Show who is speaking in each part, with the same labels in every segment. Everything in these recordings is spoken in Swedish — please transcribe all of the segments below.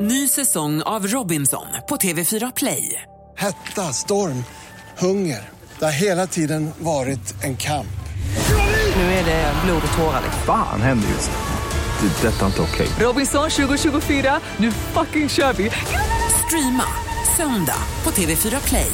Speaker 1: Ny säsong av Robinson på TV4 Play.
Speaker 2: Hetta, storm, hunger. Det har hela tiden varit en kamp.
Speaker 1: Nu är det blod och tårar.
Speaker 3: Fan händer just nu. Det. är Detta är inte okej.
Speaker 1: Robinson 2024, nu fucking kör vi! Streama söndag på TV4 Play.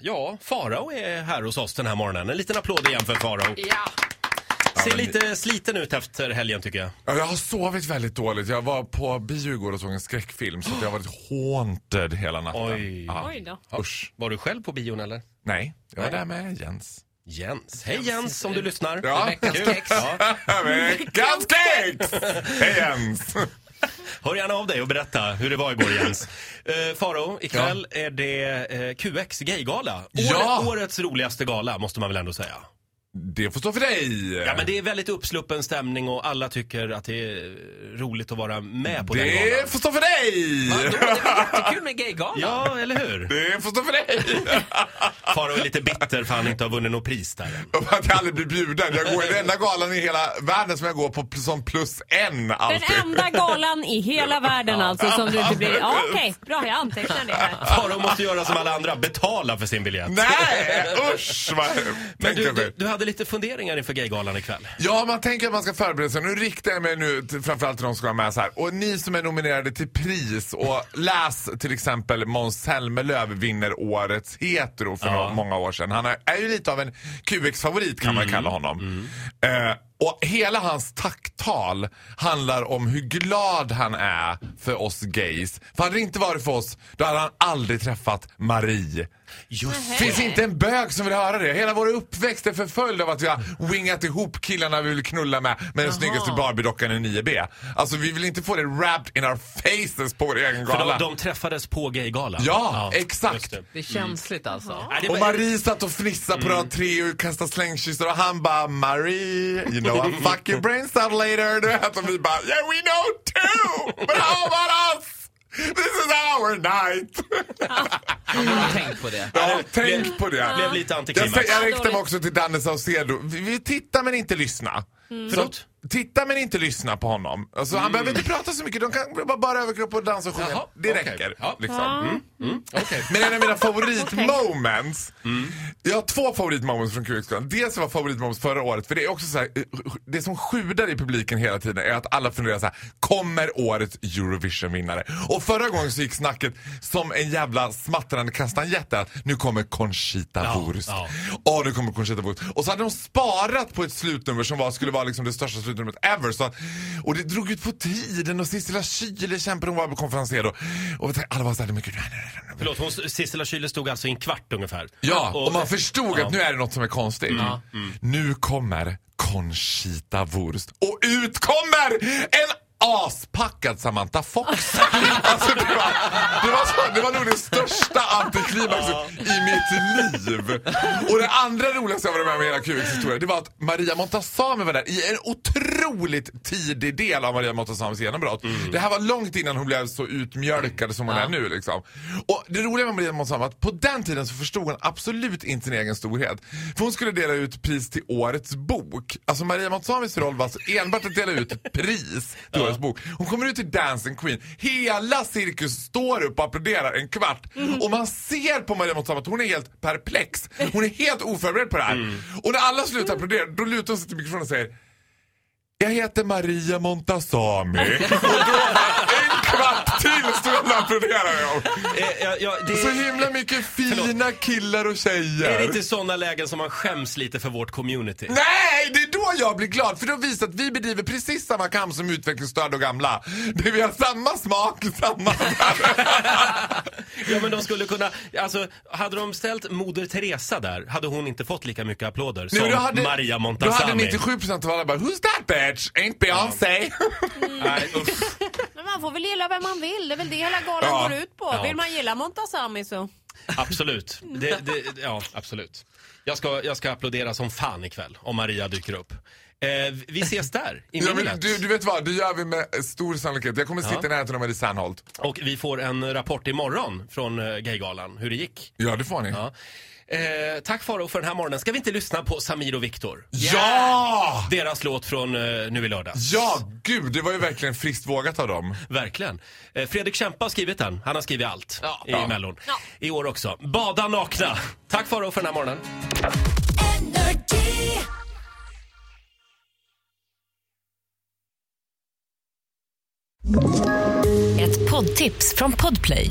Speaker 4: Ja, Farao är här hos oss den här morgonen. En liten applåd igen för Farao.
Speaker 5: Ja.
Speaker 4: Ser lite sliten ut efter helgen tycker jag.
Speaker 6: Ja, jag har sovit väldigt dåligt. Jag var på bio igår och såg en skräckfilm så att jag har varit haunted hela natten.
Speaker 4: Oj.
Speaker 6: Ja.
Speaker 5: Oj då.
Speaker 6: Usch.
Speaker 4: Var du själv på bion eller?
Speaker 6: Nej, jag var
Speaker 4: Nej.
Speaker 6: där med Jens.
Speaker 4: Jens. Hej Jens, om du lyssnar.
Speaker 6: Ja.
Speaker 4: Veckans kex. Ja.
Speaker 6: Veckans kex! Hej Jens!
Speaker 4: Hör gärna av dig och berätta hur det var igår Jens. Eh, Farao, ikväll är det eh, QX gaygala. Åre-
Speaker 6: Ja.
Speaker 4: Årets roligaste gala måste man väl ändå säga.
Speaker 6: Det får stå för dig.
Speaker 4: Ja, men det är väldigt uppsluppen stämning och alla tycker att det är roligt att vara med på den galan.
Speaker 6: det får stå för dig!
Speaker 5: Jättekul med gaygala.
Speaker 4: Ja, eller hur?
Speaker 6: Det får stå för dig!
Speaker 4: Farao är lite bitter för han inte har vunnit något pris där än.
Speaker 6: Om Att jag aldrig blir bjuden. Jag går i den enda galan i hela världen som jag går på som plus en
Speaker 5: Den
Speaker 6: alltid.
Speaker 5: enda galan i hela världen alltså som du inte blir... Ja, Okej, bra jag antecknar det här.
Speaker 4: Farao måste göra som alla andra, betala för sin biljett.
Speaker 6: Nej, usch! Vad,
Speaker 4: Men
Speaker 6: tänker
Speaker 4: du,
Speaker 6: jag mig.
Speaker 4: du, du hade lite funderingar inför Gaygalan ikväll.
Speaker 6: Ja, man tänker att man ska förbereda sig. Nu riktar jag mig nu till, framförallt till de som ska vara med så här. Och ni som är nominerade till pris och läs till exempel Måns Zelmerlöw vinner årets hetero för några, många år sedan. Han är, är ju lite av en QX-favorit kan man kalla honom. Eh, och hela hans tacktal handlar om hur glad han är för oss gays. För hade det inte varit för oss, då hade han aldrig träffat Marie.
Speaker 4: Just
Speaker 6: Finns inte en bög som vill höra det. Hela vår uppväxt är förföljd av att vi har wingat ihop killarna vi vill knulla med med den snyggaste Barbiedockan i 9B. Alltså vi vill inte få det wrapped in our faces på vår egen
Speaker 4: För de,
Speaker 6: gala.
Speaker 4: de träffades på Gaygalan.
Speaker 6: Ja, exakt.
Speaker 4: just det.
Speaker 7: Det är känsligt alltså.
Speaker 4: Nej, det
Speaker 6: Och
Speaker 4: var-
Speaker 6: Marie satt och fnissade
Speaker 4: Mm.
Speaker 6: på rad tre och kastade slängkyssar och han bara Marie, you know I'll fuck your brains out later. Du vet, och vi bara yeah we know too! But how about us? This is our night!
Speaker 7: Tänk på det.
Speaker 6: Ja,
Speaker 4: Mm.
Speaker 6: tänk på det.
Speaker 4: blev lite
Speaker 6: Jag,
Speaker 4: antiklimax.
Speaker 6: säger- jag riktar mig också till Danne Saucedo. Vi, vi tittar men inte lyssna.
Speaker 4: Förlåt?
Speaker 6: Titta men inte lyssna på honom. Alltså, Han behöver inte prata så mycket. De kan bara bara överkropp och dansa och sjunga.
Speaker 4: Mm. Jaha,
Speaker 6: det
Speaker 4: okej.
Speaker 6: räcker.
Speaker 4: Ja. Mm.
Speaker 6: Liksom. Men en av mina favoritmoments. Jag har två favoritmoments från QX-galan. Dels var favoritmoments förra året. För det är också så här, eh, det som sjuder i publiken hela tiden är att alla funderar så här. Kommer årets Eurovision-vinnare? Och förra gången så gick snacket som en jävla smattrande kastanjett där, att Nu kommer Conchita
Speaker 4: Ja,
Speaker 6: Wurst.
Speaker 4: ja.
Speaker 6: Åh, nu kommer Conchita Wurst. Och så hade de sparat på ett slutnummer som var, skulle vara liksom det största slutnumret ever. Så, att- och det drog ut på tiden och Sissela Kyle kämpade, hon var konferenser då. Och alla var såhär, men gud, nej, nej, nej, nej.
Speaker 4: Förlåt, hon, Sissela Kyle stod alltså i en kvart ungefär.
Speaker 6: Ja, Mm. och, man förstod att nu är det något som är konstigt. Nu kommer Conchita Wurst och ut kommer en aspackad Samantha Fox. alltså det var, det, var så, det var nog det största antiklimaxet i mitt liv. Och det andra roligaste jag var med om i hela QX historia, det var att Maria Montazami var där i en otroligt tidig del av Maria Montazamis genombrott. Det här var långt innan hon blev så utmjölkad som hon är nu. Liksom. Och det roliga med Maria Montazami var att på den tiden så förstod hon absolut inte sin egen storhet. För hon skulle dela ut pris till årets bok. Alltså Maria Montazamis roll var alltså enbart att dela ut ett pris till årets bok. Hon kommer ut till Dancing Queen. Hela cirkus står upp och applåderar en kvart. Och man ser på Maria Montazami att hon är helt perplex. Hon är helt oförberedd på det här. Och när alla slutar applådera då lutar hon sig till mikrofonen och säger jag heter Maria Montazami. och då var en kvart till stod jag och applåderade. jag.
Speaker 4: Eh, ja, ja, det,
Speaker 6: Så himla mycket fina killar
Speaker 4: är
Speaker 6: och
Speaker 4: det
Speaker 6: tjejer.
Speaker 4: inte sådana lägen som man skäms lite för vårt community?
Speaker 6: Nej, det är då jag blir glad för då visar att vi bedriver precis samma kamp som utvecklingsstörda och gamla. Det vi har samma smak, samma...
Speaker 4: Ja, men de skulle kunna... Alltså, hade de ställt Moder Teresa där hade hon inte fått lika mycket applåder
Speaker 6: Nu,
Speaker 4: som Maria
Speaker 6: då
Speaker 4: Montazami.
Speaker 6: hade 97% av alla bara “Who's that bitch? Ain't Beyoncé?”
Speaker 4: Nej, usch.
Speaker 5: Men man får väl gilla vem man vill. Det är väl det hela galan
Speaker 6: Ja.
Speaker 5: går ut på. Vill man gilla Montazami så...
Speaker 4: Absolut. Det, det, ja, absolut. Jag ska, jag ska applådera som fan ikväll om Maria dyker upp. Eh, vi ses där, i
Speaker 6: Ja,
Speaker 4: Minnet.
Speaker 6: men du, du vet vad, det gör vi med stor sannolikhet. Jag kommer sitta i närheten av Marie Serneholt.
Speaker 4: Och vi får en rapport imorgon från eh, Gaygalan, hur det gick.
Speaker 6: Ja, det får ni.
Speaker 4: Ja. Eh, tack Faro för den här morgonen. Ska vi inte lyssna på Samir och Viktor?
Speaker 6: Ja!
Speaker 4: Deras låt från eh, nu i lördag.
Speaker 6: Ja, gud, det var ju verkligen friskt vågat av dem.
Speaker 4: Verkligen. Eh, Fredrik Kempe har skrivit den. Han har skrivit allt
Speaker 7: Ja.
Speaker 4: i
Speaker 6: Ja.
Speaker 4: Mellon. I år också. Bada nakna. Tack Faro för den här morgonen.
Speaker 8: Ett poddtips från Podplay.